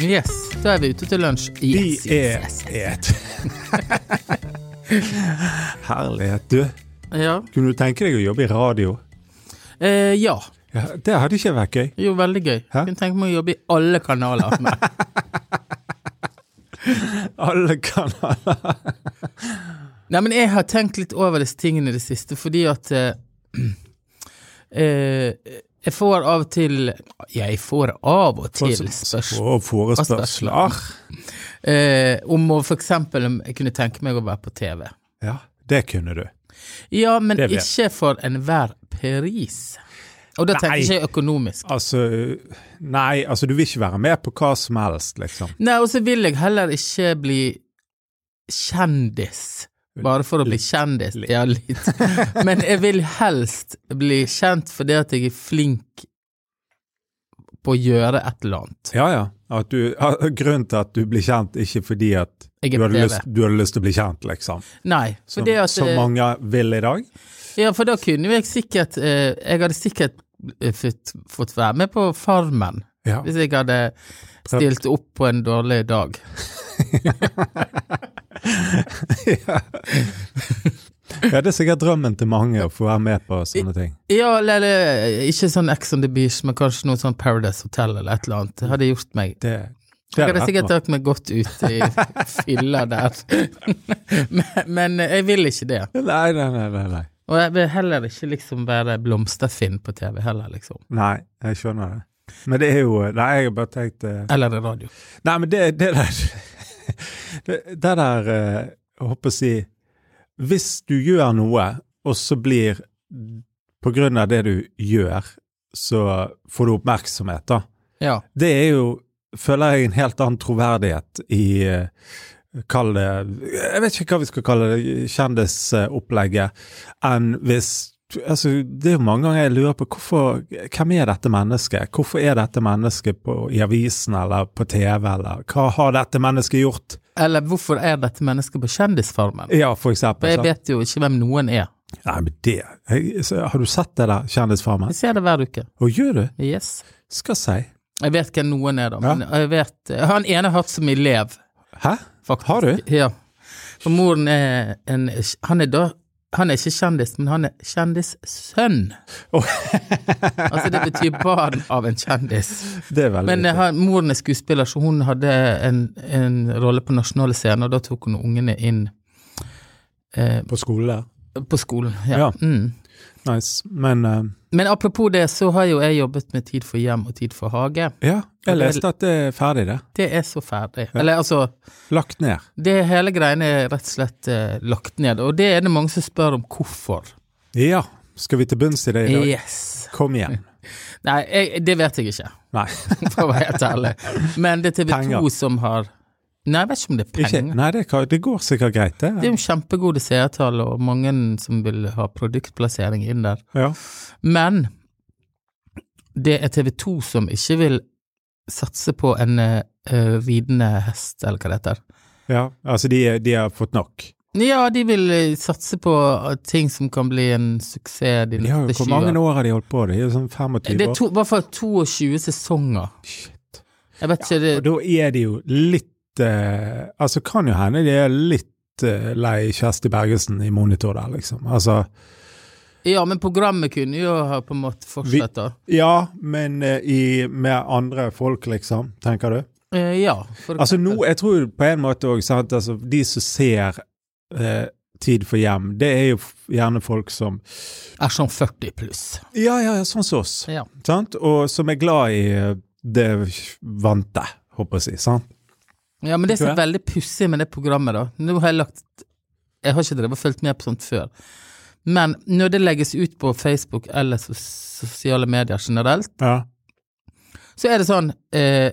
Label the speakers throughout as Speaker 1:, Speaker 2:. Speaker 1: Yes, da er vi ute til lunsj. Yes,
Speaker 2: Vi
Speaker 1: yes,
Speaker 2: er
Speaker 1: yes.
Speaker 2: et Herlighet, du.
Speaker 1: Ja.
Speaker 2: Kunne du tenke deg å jobbe i radio?
Speaker 1: Eh, ja.
Speaker 2: Ja, det hadde ikke vært gøy.
Speaker 1: Jo, veldig gøy.
Speaker 2: Hæ?
Speaker 1: Kunne tenke meg å jobbe i alle kanaler. Men
Speaker 2: Alle kanaler.
Speaker 1: Nei, men jeg har tenkt litt over disse tingene i det siste, fordi at eh, eh, Jeg får av og til Jeg får av og til spørsmål
Speaker 2: Og forespørsler.
Speaker 1: eh, om å for eksempel om jeg kunne tenke meg å være på TV.
Speaker 2: Ja, det kunne du.
Speaker 1: Ja, men
Speaker 2: Det blir-
Speaker 1: ikke for enhver pris. Og da tenker
Speaker 2: Nei.
Speaker 1: ikke jeg økonomisk.
Speaker 2: Altså Nei, altså du vil ikke være med på hva som helst, liksom.
Speaker 1: Nei, og så vil jeg heller ikke bli kjendis. Bare for å bli kjendis. Ja, litt. Men jeg vil helst bli kjent fordi at jeg er flink på å gjøre et eller annet.
Speaker 2: Ja, ja. At du, ah, grunnen til at du blir kjent, ikke fordi at
Speaker 1: Jeg
Speaker 2: du
Speaker 1: er på
Speaker 2: hadde,
Speaker 1: TV.
Speaker 2: lyst, du hadde lyst til å bli kjent, liksom.
Speaker 1: Nei,
Speaker 2: Som,
Speaker 1: for det at eh,
Speaker 2: som mange vil i dag.
Speaker 1: Ja, for da kunne jo jeg sikkert eh, Jeg hadde sikkert eh, fått, fått være med på Farmen
Speaker 2: Ja.
Speaker 1: hvis jeg hadde stilt opp på en dårlig dag.
Speaker 2: ja, det er sikkert drømmen til mange å få være med på sånne ting.
Speaker 1: Ja, eller- eller ikke sånn Ex on the Beach, men kanskje noe sånn Paradise Hotel eller et eller annet. Det hadde gjort meg
Speaker 2: Det, det
Speaker 1: Jeg
Speaker 2: er
Speaker 1: hadde
Speaker 2: rett
Speaker 1: sikkert
Speaker 2: nok.
Speaker 1: tatt meg godt ut i fylla der. men, men jeg vil ikke det.
Speaker 2: Nei, nei, nei, nei, nei.
Speaker 1: Og jeg vil heller ikke liksom være Blomsterfinn på TV heller, liksom.
Speaker 2: Nei, jeg skjønner det. Men det er jo Nei, jeg har bare tenkt eh,
Speaker 1: Eller i radio.
Speaker 2: Nei, men det, det der Det, det der eh, Jeg håper å si Hvis du gjør noe, og så blir På grunn av det du gjør, så får du oppmerksomhet, da.
Speaker 1: Ja.
Speaker 2: Det er jo, føler jeg, en helt annen troverdighet i eh, Kall det Jeg vet ikke hva vi skal kalle det, kjendisopplegget, enn hvis Altså, det er jo mange ganger jeg lurer på hvorfor, hvem er dette mennesket? Hvorfor er dette mennesket på, i avisen eller på TV, eller hva har dette mennesket gjort?
Speaker 1: Eller hvorfor er dette mennesket på Kjendisfarmen?
Speaker 2: Ja, for
Speaker 1: For
Speaker 2: eksempel.
Speaker 1: jeg
Speaker 2: sant?
Speaker 1: vet jo ikke hvem noen er.
Speaker 2: Nei, men det jeg, så, Har du sett det der, Kjendisfarmen?
Speaker 1: Jeg ser det hver uke.
Speaker 2: Å, gjør du?
Speaker 1: Yes.
Speaker 2: Skal si.
Speaker 1: Jeg vet hvem noen er, da. Men jeg vet Han ene har hatt som elev,
Speaker 2: Hæ?
Speaker 1: faktisk.
Speaker 2: Har du?
Speaker 1: Ja. For moren er en Han er da han er ikke kjendis, men han er kjendissønn.
Speaker 2: Å.
Speaker 1: altså det betyr barn av en kjendis.
Speaker 2: Det er veldig
Speaker 1: Men eh,
Speaker 2: viktig.
Speaker 1: her, moren er skuespiller, så hun hadde en, en rolle på nasjonale scener, og da tok hun ungene inn eh,
Speaker 2: På skole.
Speaker 1: på skolen. Ja.
Speaker 2: Ja.
Speaker 1: Mm.
Speaker 2: Nice. Men eh,
Speaker 1: Men apropos det, så har jo jeg jobbet med Tid for hjem og Tid for hage.
Speaker 2: Ja, jeg
Speaker 1: Og det er-
Speaker 2: leste at det er ferdig, det.
Speaker 1: Det er så ferdig. Eller altså,
Speaker 2: Lagt ned.
Speaker 1: det hele greiene er rett og slett eh, lagt ned, og det er det mange som spør om hvorfor.
Speaker 2: Ja, skal vi til bunns i det i dag?
Speaker 1: Yes.
Speaker 2: Kom igjen.
Speaker 1: Nei, jeg, det vet jeg ikke,
Speaker 2: Nei.
Speaker 1: for å være helt ærlig. Men det er TV 2
Speaker 2: Penger.
Speaker 1: som har Nei, jeg vet ikke om det er penger.
Speaker 2: Ikke, nei, det, kan- det går sikkert greit,
Speaker 1: Det er
Speaker 2: det.
Speaker 1: jo kjempegode seertall, og mange som vil ha produktplassering inn der.
Speaker 2: Ja.
Speaker 1: Men det er TV 2 som ikke vil satse på en eh, eh, ridende hest, eller hva det heter.
Speaker 2: ja. Altså, de, er- de har fått nok.
Speaker 1: Ja, de vil eh, satse på eh, ting som kan bli en suksess de
Speaker 2: De har jo,
Speaker 1: neste
Speaker 2: hvor
Speaker 1: 20
Speaker 2: mange
Speaker 1: år.
Speaker 2: år har de holdt på? De er jo sånn 25
Speaker 1: Det
Speaker 2: år.
Speaker 1: er to, i hvert fall 22 sesonger.
Speaker 2: Shit.
Speaker 1: Jeg vet ikke, det
Speaker 2: Og da er de jo litt eh, Altså, kan jo hende de er litt eh, lei Kjersti Bergesen i monitor der, liksom. Altså,
Speaker 1: Ja, men programmet kunne jo ha på en måte fortsatt, da.
Speaker 2: ja, men eh, i, med andre folk, liksom, tenker du?
Speaker 1: Eh, ja. for
Speaker 2: Altså
Speaker 1: eksempel.
Speaker 2: nå, jeg tror på en måte òg, sant, altså de som ser eh, Tid for hjem, det er jo f- gjerne folk som
Speaker 1: Er sånn 40 pluss.
Speaker 2: Ja, ja, ja, sånn som oss,
Speaker 1: Ja.
Speaker 2: sant, og som er glad i eh, det vante, håper jeg å si, sant.
Speaker 1: Ja, men det som
Speaker 2: Tror
Speaker 1: er veldig pussig med det programmet, da Nå har jeg lagt Jeg har ikke drevet og fulgt med på sånt før. Men når det legges ut på Facebook eller sos sosiale medier generelt,
Speaker 2: Ja.
Speaker 1: så er det sånn eh,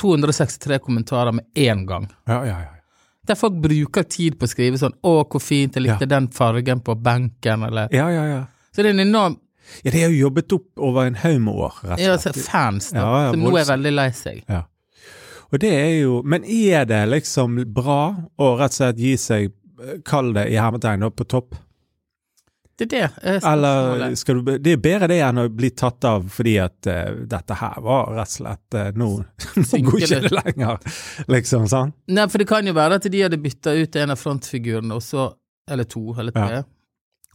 Speaker 1: 263 kommentarer med én gang.
Speaker 2: Ja, ja, ja.
Speaker 1: Der folk bruker tid på å skrive sånn 'Å, hvor fint. Jeg likte den fargen på benken', eller
Speaker 2: Ja, ja, ja.
Speaker 1: Så det er en enorm
Speaker 2: Ja, De har jo jobbet opp over en haug med år, rett
Speaker 1: ja,
Speaker 2: og
Speaker 1: altså,
Speaker 2: slett.
Speaker 1: fans, da,
Speaker 2: Ja, ja,
Speaker 1: som nå er
Speaker 2: voldsomt.
Speaker 1: veldig lei seg.
Speaker 2: Ja. Og det er jo Men er det liksom bra å rett og slett gi seg, eh, kall det i hermetegn, opp på topp?
Speaker 1: Det er det. eh,
Speaker 2: Eller
Speaker 1: spørsmålet.
Speaker 2: skal du, be- det er bedre det enn å bli tatt av fordi at eh, dette her var rett og slett eh, Nå nå
Speaker 1: Synker
Speaker 2: går ikke
Speaker 1: det.
Speaker 2: det lenger, liksom. sånn.
Speaker 1: Nei, for det kan jo være at de hadde bytta ut en av frontfigurene, og så, eller to, eller tre,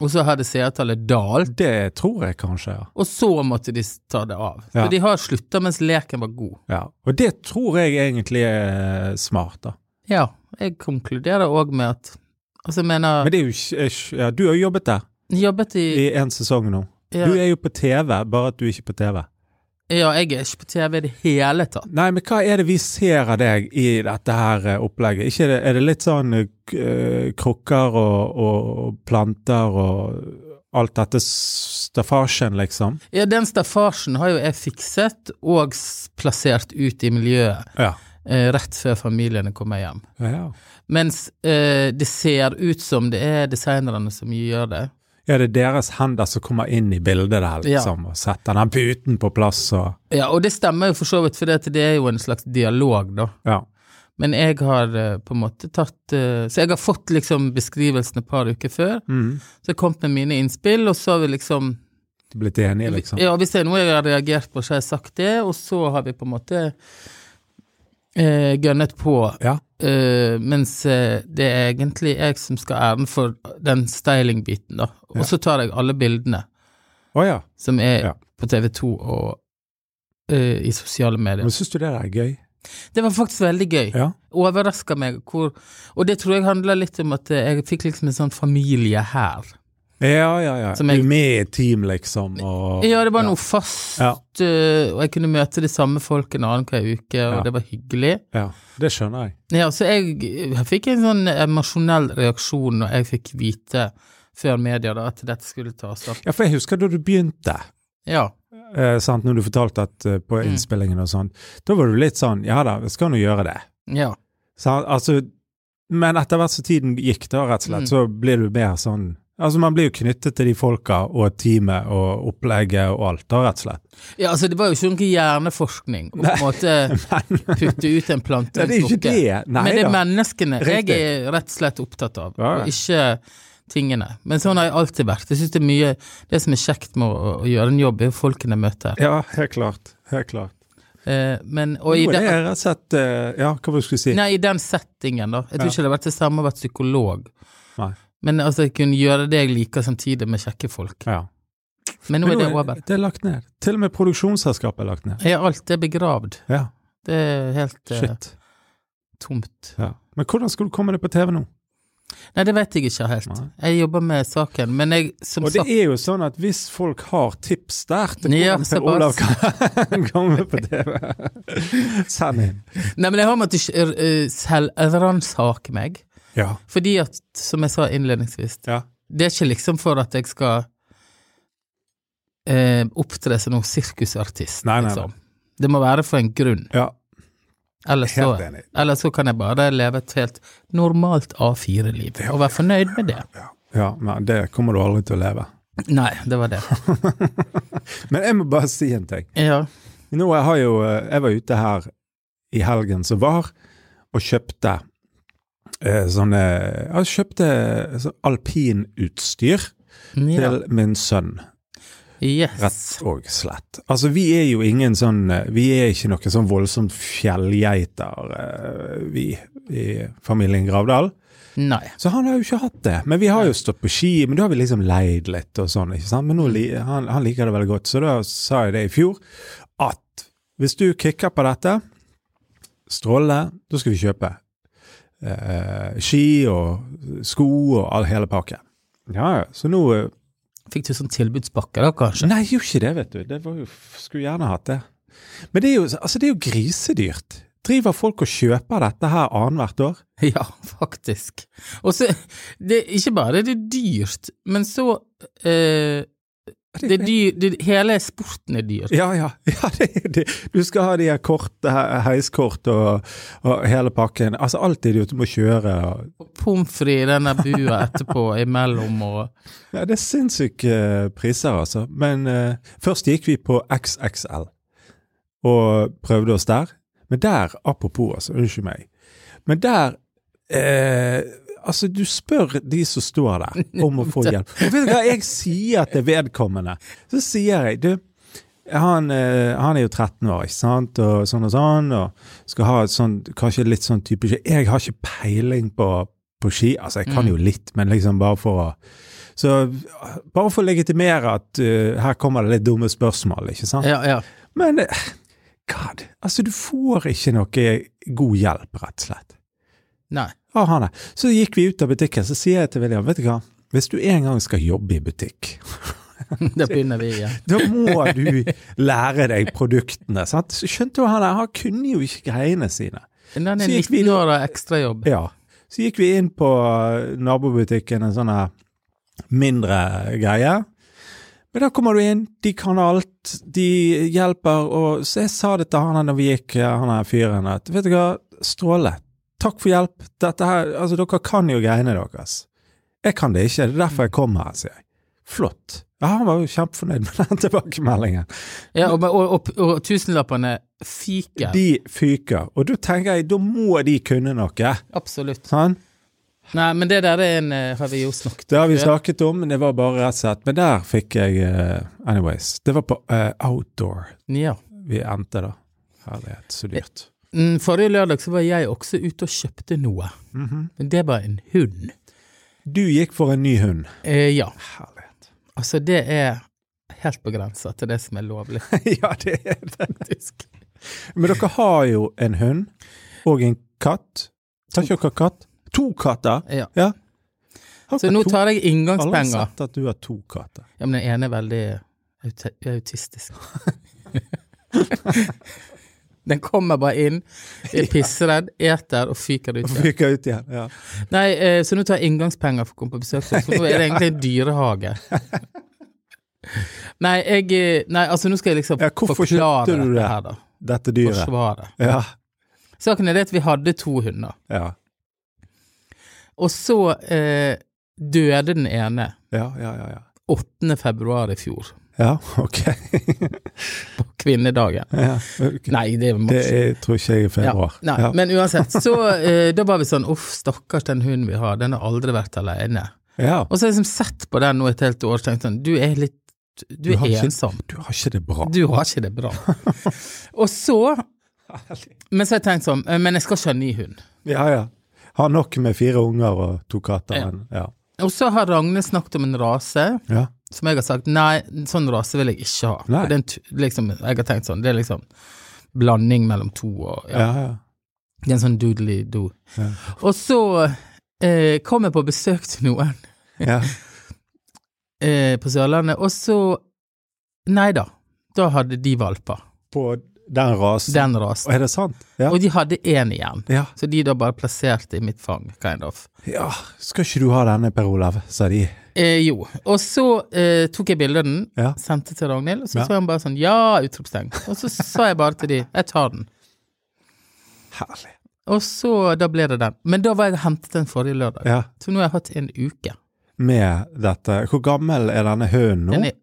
Speaker 1: og så hadde seertallet dalt,
Speaker 2: Det tror jeg kanskje, ja.
Speaker 1: og så måtte de ta det av.
Speaker 2: Ja.
Speaker 1: Så de har slutta mens leken var god.
Speaker 2: ja. Og det tror jeg egentlig er smart, da.
Speaker 1: Ja, jeg konkluderer òg med at Altså, jeg mener
Speaker 2: Men det er jo ikke ikke- ja, Du har jo jobbet der
Speaker 1: Jobbet i
Speaker 2: i en sesong nå.
Speaker 1: ja,
Speaker 2: Du er jo på TV, bare at du er ikke på TV.
Speaker 1: ja, jeg er ikke på TV i det hele tatt.
Speaker 2: Nei, men hva er det vi ser av deg i dette her eh, opplegget? Ikke er, det, er det litt sånn eh, k- eh, krukker og, og planter og alt dette staffasjen, liksom?
Speaker 1: Ja, den staffasjen har jo jeg fikset og s- plassert ut i miljøet
Speaker 2: Ja.
Speaker 1: eh, rett før familiene kommer hjem.
Speaker 2: ja.
Speaker 1: Mens eh, det ser ut som det er designerne som gjør det.
Speaker 2: Er det deres hender som kommer inn i bildet der, liksom, og setter den puten på plass og
Speaker 1: Ja, og det stemmer jo for så vidt, for det, at det er jo en slags dialog, da.
Speaker 2: Ja.
Speaker 1: Men jeg har eh, på en måte tatt eh, Så jeg har fått liksom beskrivelsen et par uker før.
Speaker 2: Mm.
Speaker 1: Så jeg kom med mine innspill, og så har vi liksom
Speaker 2: Blitt enige, liksom?
Speaker 1: Ja, hvis det er noe jeg har reagert på, så har jeg sagt det, og så har vi på en måte eh, gønnet på.
Speaker 2: Ja.
Speaker 1: Eh, mens eh, det er egentlig jeg som skal ha æren for den styling-biten, da. Og så tar jeg alle bildene
Speaker 2: Å ja.
Speaker 1: som er
Speaker 2: Ja.
Speaker 1: på TV2 og eh, i sosiale medier.
Speaker 2: Men syns du det der er gøy?
Speaker 1: Det var faktisk veldig gøy.
Speaker 2: Ja.
Speaker 1: Overraska meg hvor Og det tror jeg handler litt om at eh, jeg fikk liksom en sånn familie her.
Speaker 2: Ja, ja, ja.
Speaker 1: Som
Speaker 2: Du
Speaker 1: jeg-
Speaker 2: er med i et team, liksom, og
Speaker 1: Ja, det var noe fast,
Speaker 2: Ja.
Speaker 1: eh, og jeg kunne møte de samme folkene annenhver uke, og
Speaker 2: Ja.
Speaker 1: det var hyggelig.
Speaker 2: Ja. Det skjønner jeg.
Speaker 1: Ja, så jeg, jeg fikk en sånn emosjonell reaksjon når jeg fikk vite før media da, at dette skulle tas opp.
Speaker 2: Ja, for jeg husker da du begynte.
Speaker 1: Ja.
Speaker 2: eh, sant, når du fortalte at eh, på
Speaker 1: Mm.
Speaker 2: innspillingen og sånn, da var du litt sånn ja da, vi skal nå gjøre det.
Speaker 1: ja.
Speaker 2: Sant? altså, men etter hvert som tiden gikk da, rett og slett,
Speaker 1: Mm.
Speaker 2: så blir du mer sånn Altså, man blir jo knyttet til de folka og teamet og opplegget og alt, da, rett og slett.
Speaker 1: ja, altså det var jo ikke noe hjerneforskning å på en måte
Speaker 2: Men
Speaker 1: putte ut en plante
Speaker 2: det
Speaker 1: i en
Speaker 2: er jo ikke
Speaker 1: bukke.
Speaker 2: det. Nei
Speaker 1: Men det er
Speaker 2: da.
Speaker 1: menneskene
Speaker 2: Riktig.
Speaker 1: jeg er rett og slett opptatt av,
Speaker 2: Ja, ja.
Speaker 1: og ikke tingene. Men sånn har jeg alltid vært. Jeg synes Det er mye Det som er kjekt med å, å gjøre en jobb, er jo folkene jeg møter.
Speaker 2: Ja, helt klart. Helt klart.
Speaker 1: Eh, men, og i
Speaker 2: Jo, det
Speaker 1: den,
Speaker 2: er rett og slett eh, Ja, hva var det du skulle si?
Speaker 1: nei, i den settingen, da. Jeg tror
Speaker 2: Ja.
Speaker 1: ikke det hadde vært det samme å være psykolog.
Speaker 2: Nei.
Speaker 1: Men altså, jeg kunne gjøre det jeg liker samtidig med kjekke folk.
Speaker 2: Ja.
Speaker 1: Men nå
Speaker 2: Men
Speaker 1: er det over.
Speaker 2: Det er lagt ned. Til og med produksjonsselskapet er lagt ned.
Speaker 1: Jeg er alt er begravd.
Speaker 2: Ja,
Speaker 1: Det er helt eh,
Speaker 2: shit.
Speaker 1: tomt.
Speaker 2: Ja. Men hvordan skal du komme deg på TV nå?
Speaker 1: Nei, det vet jeg ikke helt. Jeg jobber med saken, men jeg, som
Speaker 2: Og det
Speaker 1: sagt
Speaker 2: er jo sånn at hvis folk har tips der til
Speaker 1: Ja,
Speaker 2: hvordan Per
Speaker 1: såpass.
Speaker 2: Olav kan komme på TV, send inn.
Speaker 1: Nei, men jeg har måttet eh, selvransake meg.
Speaker 2: Ja.
Speaker 1: Fordi at, som jeg sa innledningsvis,
Speaker 2: Ja.
Speaker 1: det er ikke liksom for at jeg skal eh, opptre som noen sirkusartist,
Speaker 2: Nei, nei, nei.
Speaker 1: liksom. Det må være for en grunn.
Speaker 2: ja.
Speaker 1: Ellers så,
Speaker 2: Helt enig.
Speaker 1: ellers så kan jeg bare leve et helt normalt A4-liv og være fornøyd med det.
Speaker 2: Ja, men det kommer du aldri til å leve.
Speaker 1: Nei, det var det.
Speaker 2: Men jeg må bare si en ting.
Speaker 1: Ja.
Speaker 2: Nå, jeg, har jo, eh, jeg var ute her i helgen som var, og kjøpte eh, sånne Jeg kjøpte sånn
Speaker 1: ja.
Speaker 2: alpinutstyr til min sønn.
Speaker 1: Yes.
Speaker 2: Rett og slett. Altså, vi er jo ingen sånn eh, Vi er ikke noe sånn voldsomt fjellgeiter, eh, vi i familien Gravdal.
Speaker 1: Nei.
Speaker 2: Så han har jo ikke hatt det. Men vi har jo stått på ski, men da har vi liksom leid litt og sånn, ikke sant. Men nå, li- han, han liker det veldig godt, så da sa jeg det i fjor, at hvis du kicker på dette, strålende, da skal vi kjøpe eh, ski og sko og all, hele pakken. Ja, ja. Så nå eh,
Speaker 1: Fikk du sånn tilbudspakke da, kanskje?
Speaker 2: Nei, jeg gjorde ikke det, vet du. Det var jo, skulle gjerne hatt det. Men det er jo, altså, det er jo grisedyrt. Driver folk og kjøper dette her annethvert år?
Speaker 1: Ja, faktisk. Og så det, Ikke bare er det dyrt, men så eh, det er dyr, det, Hele sporten er dyr.
Speaker 2: Ja, ja. ja det, er jo det. Du skal ha de her kort, he- heiskort og, og hele pakken. Altså, alt er dyrt. Du må kjøre. Og,
Speaker 1: Og Pommes frites i denne bua etterpå imellom og
Speaker 2: ja, det er sinnssyke eh, priser, altså. Men eh, først gikk vi på XXL og prøvde oss der. Men der, apropos, altså, unnskyld meg. Men der eh, Altså, du spør de som står der om å få hjelp. Og vet du hva jeg sier til vedkommende? Så sier jeg, du, han, eh, han er jo 13 år, ikke sant, og sånn og sånn, og skal ha et sånn, kanskje litt sånn type ski. Jeg har ikke peiling på, på ski, altså jeg kan jo litt, men liksom bare for å Så bare for å legitimere at eh, her kommer det litt dumme spørsmål, ikke sant.
Speaker 1: Ja, ja.
Speaker 2: Men eh, god, altså du får ikke noe god hjelp, rett og slett.
Speaker 1: Nei.
Speaker 2: Ja, han er. Så gikk vi ut av butikken, så sier jeg til William, vet du hva, hvis du en gang skal jobbe i butikk,
Speaker 1: Da begynner vi igjen.
Speaker 2: da må du lære deg produktene, sant? Så skjønte jo han der, han kunne jo ikke greiene sine.
Speaker 1: Den er
Speaker 2: Så gikk vi
Speaker 1: 19 år og ekstrajobb.
Speaker 2: Ja, så gikk vi inn på eh, nabobutikken, en sånn her mindre greie. Men da kommer du inn, de kan alt, de hjelper, og så jeg sa det til han her når vi gikk, eh, han her fyren, at vet du hva, stråle, takk for hjelp, dette her, altså dere kan jo greiene deres. Jeg kan det ikke, det er derfor jeg kom her, sier jeg. Flott. Ja, han var jo kjempefornøyd med den tilbakemeldingen.
Speaker 1: Ja, og, og, og, og tusenlappene fyker.
Speaker 2: De fyker, og da tenker jeg, da må de kunne noe,
Speaker 1: Absolutt.
Speaker 2: sant?
Speaker 1: Nei, men det der er en, eh, har vi jo snakket
Speaker 2: Det har vi
Speaker 1: før.
Speaker 2: snakket om, men det var bare rett og slett. Men der fikk jeg eh, Anyways. Det var på eh, outdoor
Speaker 1: Ja.
Speaker 2: vi endte, da. Herlighet, så dyrt.
Speaker 1: Mm, Forrige lørdag så var jeg også ute og kjøpte noe. Men det var en hund.
Speaker 2: Mhm. Du gikk for en ny hund.
Speaker 1: Eh, ja.
Speaker 2: Herlighet.
Speaker 1: Altså, det er helt på grensa til det som er lovlig,
Speaker 2: ja, det er det.
Speaker 1: faktisk.
Speaker 2: Men dere har jo en hund og en katt. Tar ikke dere katt? To katter?
Speaker 1: Ja.
Speaker 2: Ja. Har
Speaker 1: Så
Speaker 2: dere
Speaker 1: nå
Speaker 2: to-
Speaker 1: tar jeg
Speaker 2: Alle har
Speaker 1: inngangspenger.
Speaker 2: sett at du har to katter.
Speaker 1: Ja, men den ene er veldig aut- autistisk. den kommer bare inn, er pissredd, eter og fyker ut.
Speaker 2: Og
Speaker 1: igjen.
Speaker 2: Fyker ut igjen. Ja.
Speaker 1: Nei, eh, så nå tar jeg inngangspenger for å komme på besøk, så nå er det egentlig en dyrehage. Nei, jeg eh, Nei, altså nå skal jeg liksom
Speaker 2: Ja, hvorfor
Speaker 1: forklare
Speaker 2: kjøpte du
Speaker 1: dette
Speaker 2: det?
Speaker 1: her, da.
Speaker 2: Dette dyret.
Speaker 1: Forsvare.
Speaker 2: Ja.
Speaker 1: Saken er det at vi hadde to hunder,
Speaker 2: Ja.
Speaker 1: og så eh, døde den ene
Speaker 2: Ja, ja, ja. Ja,
Speaker 1: 8. februar i fjor,
Speaker 2: ja ok.
Speaker 1: på kvinnedagen.
Speaker 2: ja. ok.
Speaker 1: Nei, det er mars.
Speaker 2: Det er, tror ikke jeg er februar.
Speaker 1: Nei,
Speaker 2: Ja.
Speaker 1: Men uansett, så eh, da var vi sånn uff, stakkars den hunden vi har, den har aldri vært alene.
Speaker 2: Ja.
Speaker 1: Og så har jeg liksom sett på den nå et helt år og tenkt sånn, du er litt Du
Speaker 2: Du
Speaker 1: er
Speaker 2: har ikke-
Speaker 1: ensom.
Speaker 2: Du har ikke det bra.
Speaker 1: Du har ikke det bra. og så Men så har jeg tenkt sånn, eh, men jeg skal ikke ha ny hund.
Speaker 2: Ja, ja. Har nok med fire unger og to katter.
Speaker 1: Ja.
Speaker 2: Men, ja.
Speaker 1: Og så har Ragne snakket om en rase
Speaker 2: Ja.
Speaker 1: som jeg har sagt nei, sånn rase vil jeg ikke ha.
Speaker 2: Nei.
Speaker 1: For Det er en, tu- liksom, jeg har tenkt sånn, det er liksom blanding mellom to og ja.
Speaker 2: Ja, ja.
Speaker 1: Det er en sånn doodly-do.
Speaker 2: Ja.
Speaker 1: Og så eh, kom jeg på besøk til noen
Speaker 2: ja.
Speaker 1: eh, på Sørlandet, og så Nei da, da hadde de valper.
Speaker 2: På den rasen.
Speaker 1: Den rasen.
Speaker 2: Er det sant? Ja.
Speaker 1: Og de hadde én igjen,
Speaker 2: ja.
Speaker 1: så de da bare plasserte i mitt fang, kind of.
Speaker 2: ja. Skal ikke du ha denne, Per Olav, sa de.
Speaker 1: Eh, jo. Og så eh, tok jeg bilde av den,
Speaker 2: Ja.
Speaker 1: sendte til Ragnhild, og så
Speaker 2: Ja.
Speaker 1: så hun bare sånn ja, utropstegn. Og så sa jeg bare til de jeg tar den.
Speaker 2: Herlig.
Speaker 1: Og så da ble det den. Men da var jeg og hentet den forrige lørdag.
Speaker 2: Ja.
Speaker 1: Så nå har jeg hatt en uke.
Speaker 2: Med dette Hvor gammel er denne hunden nå?
Speaker 1: Den er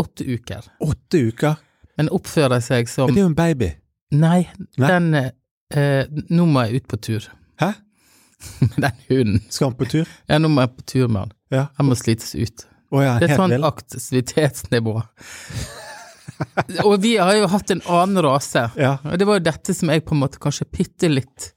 Speaker 1: åtte uker.
Speaker 2: Åtte uker?
Speaker 1: Men oppfører seg som
Speaker 2: Men det er jo en baby.
Speaker 1: Nei,
Speaker 2: Nei?
Speaker 1: den eh, Nå må jeg ut på tur
Speaker 2: Hæ?
Speaker 1: med den hunden.
Speaker 2: Skal han på tur?
Speaker 1: Ja, nå må jeg på tur med den.
Speaker 2: Ja.
Speaker 1: Han må slites ut.
Speaker 2: Å ja,
Speaker 1: Det er
Speaker 2: helt
Speaker 1: sånn
Speaker 2: vill.
Speaker 1: aktivitetsnivå. Og vi har jo hatt en annen rase.
Speaker 2: Ja.
Speaker 1: Og det var jo dette som jeg på en måte kanskje bitte litt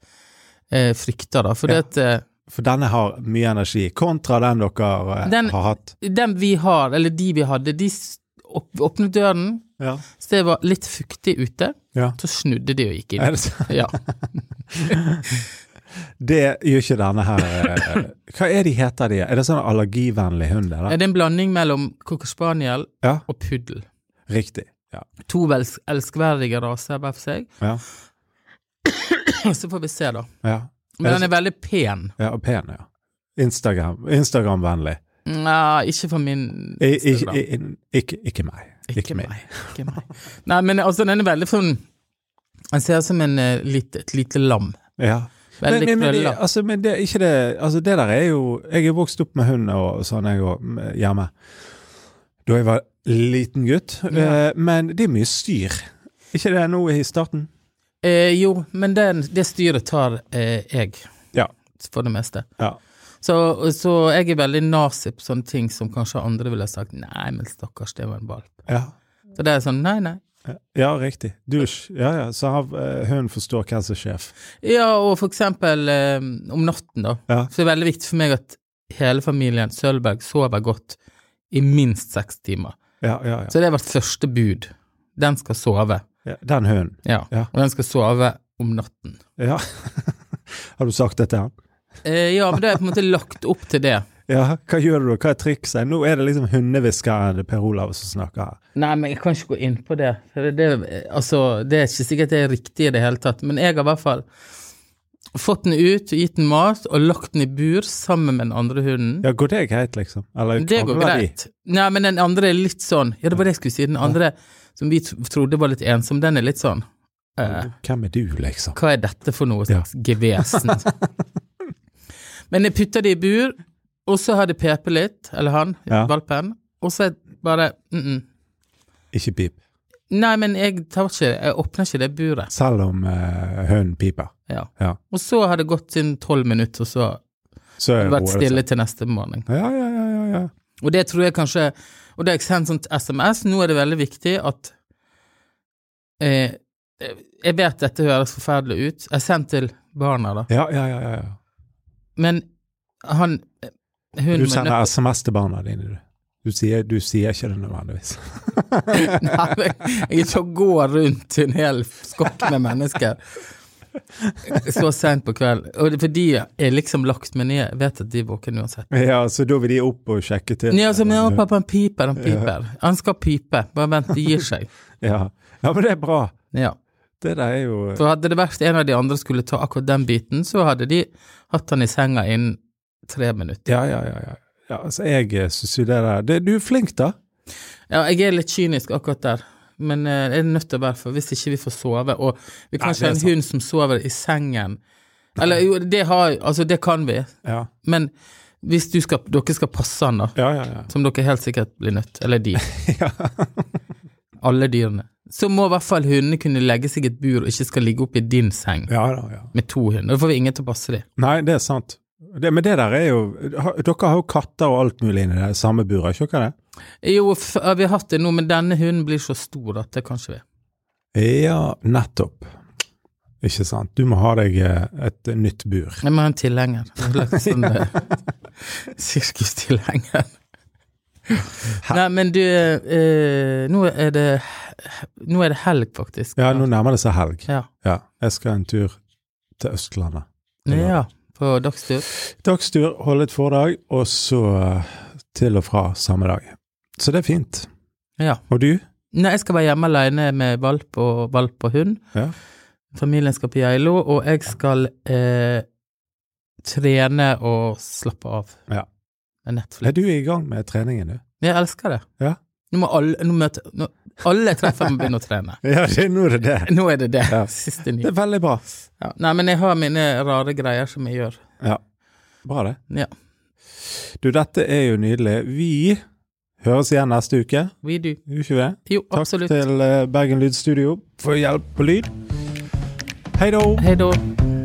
Speaker 1: eh, frykter, da. For
Speaker 2: Ja.
Speaker 1: det at eh,
Speaker 2: For denne har mye energi, kontra den dere eh,
Speaker 1: Den-
Speaker 2: har hatt.
Speaker 1: den vi har, eller de vi hadde, de s- opp, åpnet døren,
Speaker 2: Ja.
Speaker 1: så det var litt fuktig ute.
Speaker 2: ja.
Speaker 1: Så snudde de og gikk
Speaker 2: Er
Speaker 1: inn.
Speaker 2: det sant?
Speaker 1: Ja.
Speaker 2: Det gjør ikke denne her eh, Hva er de heter de? Er det sånn allergivennlig hund?
Speaker 1: Er
Speaker 2: Eller?
Speaker 1: det en blanding mellom cocker spaniel
Speaker 2: Ja,
Speaker 1: og puddel?
Speaker 2: riktig. Ja.
Speaker 1: To vels- elskverdige raser hver for seg.
Speaker 2: Ja.
Speaker 1: Så får vi se, da.
Speaker 2: Ja.
Speaker 1: Men
Speaker 2: Er det
Speaker 1: den er veldig pen.
Speaker 2: ja og pen, ja. Instagram, Instagram-vennlig.
Speaker 1: Nei, ikke for min
Speaker 2: I- i-
Speaker 1: Instagram.
Speaker 2: i- in- Ikke, ikke meg.
Speaker 1: Ikke meg. Ikke meg. Nei, men altså, den er veldig sånn Den ser ut som en, eh, lite, et lite lam.
Speaker 2: Ja. Men,
Speaker 1: Veldig
Speaker 2: men, men, det,
Speaker 1: krølla.
Speaker 2: altså, men det, er ikke det, altså, det der er jo Jeg er vokst opp med hund og sånn, jeg òg, hjemme. Da jeg var liten gutt.
Speaker 1: Ja.
Speaker 2: Eh, Men det er mye styr. Ikke det nå i starten?
Speaker 1: Eh, jo, men den, det styret tar eh, jeg,
Speaker 2: Ja.
Speaker 1: for det meste.
Speaker 2: ja.
Speaker 1: Så, så jeg er veldig nazi på sånne ting som kanskje andre ville sagt Nei, men stakkars, det var en valp.
Speaker 2: Ja.
Speaker 1: Så det er sånn, nei, nei.
Speaker 2: ja, riktig. Dusj. Ja, ja. Så har, eh, hun forstår hvem som er sjef.
Speaker 1: Ja, og for eksempel eh, om natten, da.
Speaker 2: Ja.
Speaker 1: Så det er veldig viktig for meg at hele familien Sølberg sover godt i minst seks timer.
Speaker 2: Ja, ja, ja.
Speaker 1: Så det er vårt første bud. Den skal sove.
Speaker 2: ja. Den hunden.
Speaker 1: Ja.
Speaker 2: Ja.
Speaker 1: Og den skal sove om natten.
Speaker 2: Ja. har du sagt det til han?
Speaker 1: Eh, ja, men da er jeg på en måte lagt opp til det.
Speaker 2: Ja, hva gjør du? Hva er trikset? Nå er det liksom hundehviskeren Per Olav som snakker her.
Speaker 1: Nei, men jeg kan ikke gå inn på det. For det, det, altså, det er ikke sikkert det er riktig i det hele tatt. Men jeg har i hvert fall fått den ut, gitt den mat og lagt den i bur sammen med den andre hunden.
Speaker 2: Ja, går det greit, liksom? Eller
Speaker 1: Det går
Speaker 2: krangler de?
Speaker 1: greit. Nei, men den andre er litt sånn Ja, det var det jeg skulle si. Den andre som vi t- trodde var litt ensom, den er litt sånn eh,
Speaker 2: Hvem er du, liksom?
Speaker 1: Hva er dette for noe slags gevesen? men jeg putter det i bur, og så har det pepet litt, eller han,
Speaker 2: Ja.
Speaker 1: valpen, og så er det bare mm -mm.
Speaker 2: Ikke pip.
Speaker 1: Nei, men jeg tar ikke Jeg åpner ikke det buret.
Speaker 2: Selv om eh, hunden piper.
Speaker 1: Ja.
Speaker 2: Ja.
Speaker 1: Og så har det gått siden tolv minutter, og så har
Speaker 2: Så
Speaker 1: det
Speaker 2: roer
Speaker 1: vært
Speaker 2: det seg.
Speaker 1: stille til neste morgen.
Speaker 2: sånn. Ja, ja, ja, ja, ja.
Speaker 1: Og det tror jeg kanskje Og det har jeg sendt sånn sånt SMS. Nå er det veldig viktig at eh, Jeg vet dette høres forferdelig ut. Jeg har sendt til barna, da.
Speaker 2: Ja, ja, ja, ja, ja.
Speaker 1: Men han eh, hun
Speaker 2: Du
Speaker 1: med nø-
Speaker 2: sender SMS til barna dine, du. Du sier, du sier ikke det nødvendigvis.
Speaker 1: Nei, men jeg er ikke å gå rundt til en hel skokk med mennesker så seint på kvelden. Og det- For de er liksom lagt meg ned. Jeg vet at de er våkne uansett.
Speaker 2: ja, så da vil de opp og sjekke til.
Speaker 1: Ja, altså, men ja, pappa, han piper, han piper. Han skal pipe. Bare vent, det gir seg.
Speaker 2: Ja. ja, men det er bra.
Speaker 1: Ja.
Speaker 2: Det der er jo
Speaker 1: For hadde det vært en av de andre skulle ta akkurat den biten, så hadde de hatt han i senga innen tre minutter.
Speaker 2: Ja, ja, ja. ja. ja altså, jeg syns jo det der det, Du er flink, da.
Speaker 1: Ja, jeg er litt kynisk akkurat der, men eh, jeg er nødt til å være for hvis ikke vi får sove, og vi
Speaker 2: Nei,
Speaker 1: kan
Speaker 2: det
Speaker 1: ikke
Speaker 2: er
Speaker 1: ha en
Speaker 2: sant.
Speaker 1: hund som sover i sengen. Eller jo, det har Altså, det kan vi,
Speaker 2: Ja,
Speaker 1: men hvis du skal, dere skal passe han, da,
Speaker 2: ja, ja. ja.
Speaker 1: som dere helt sikkert blir nødt Eller de.
Speaker 2: Ja.
Speaker 1: Alle dyrene. Så må i hvert fall hundene kunne legge seg i et bur og ikke skal ligge oppi din seng
Speaker 2: ja da, ja.
Speaker 1: med to hunder. Da får vi ingen til å passe dem.
Speaker 2: Nei, det er sant. Det, men det der er jo ha- Dere har jo katter og alt mulig inni det samme buret, ikke dere det?
Speaker 1: Jo, f vi har hatt det nå, men denne hunden blir så stor at det kan ikke vi.
Speaker 2: Ja, nettopp. Ikke sant. Du må ha deg eh, et nytt bur.
Speaker 1: Jeg må ha en tilhenger. Jeg har lagt Sånn, eh, Sirkustilhenger. Nei, men du eh, Nå er det Nå er det helg, faktisk.
Speaker 2: Ja, nå nærmer det seg helg.
Speaker 1: Ja.
Speaker 2: Ja. Jeg skal en tur til Østlandet.
Speaker 1: ja. På dagstur.
Speaker 2: Dagstur, holde et foredrag, og så eh, til og fra samme dag. Så det er fint.
Speaker 1: Ja.
Speaker 2: Og du?
Speaker 1: Nei, jeg skal være hjemme alene med valp og valp og hund.
Speaker 2: Ja.
Speaker 1: Familien skal på Geilo, og jeg skal eh, trene og slappe av.
Speaker 2: Ja.
Speaker 1: Med Netflix.
Speaker 2: Er du i gang med treningen, du?
Speaker 1: Jeg elsker det.
Speaker 2: Ja.
Speaker 1: Nå må alle, nå møte, nå, alle jeg treffer må begynne å trene.
Speaker 2: Ja, det, nå er det det.
Speaker 1: Nå er det det.
Speaker 2: Ja.
Speaker 1: Siste
Speaker 2: Det
Speaker 1: nye.
Speaker 2: er veldig bra.
Speaker 1: Ja. Nei, men jeg har mine rare greier som jeg gjør.
Speaker 2: Ja. Bra det.
Speaker 1: Ja.
Speaker 2: Du, dette er jo nydelig. Vi høres igjen neste uke.
Speaker 1: We do.
Speaker 2: Gjør ikke vi det?
Speaker 1: Jo,
Speaker 2: Takk
Speaker 1: absolutt.
Speaker 2: til eh, Bergen Lydstudio for hjelp på lyd. Hei da!
Speaker 1: Hei da.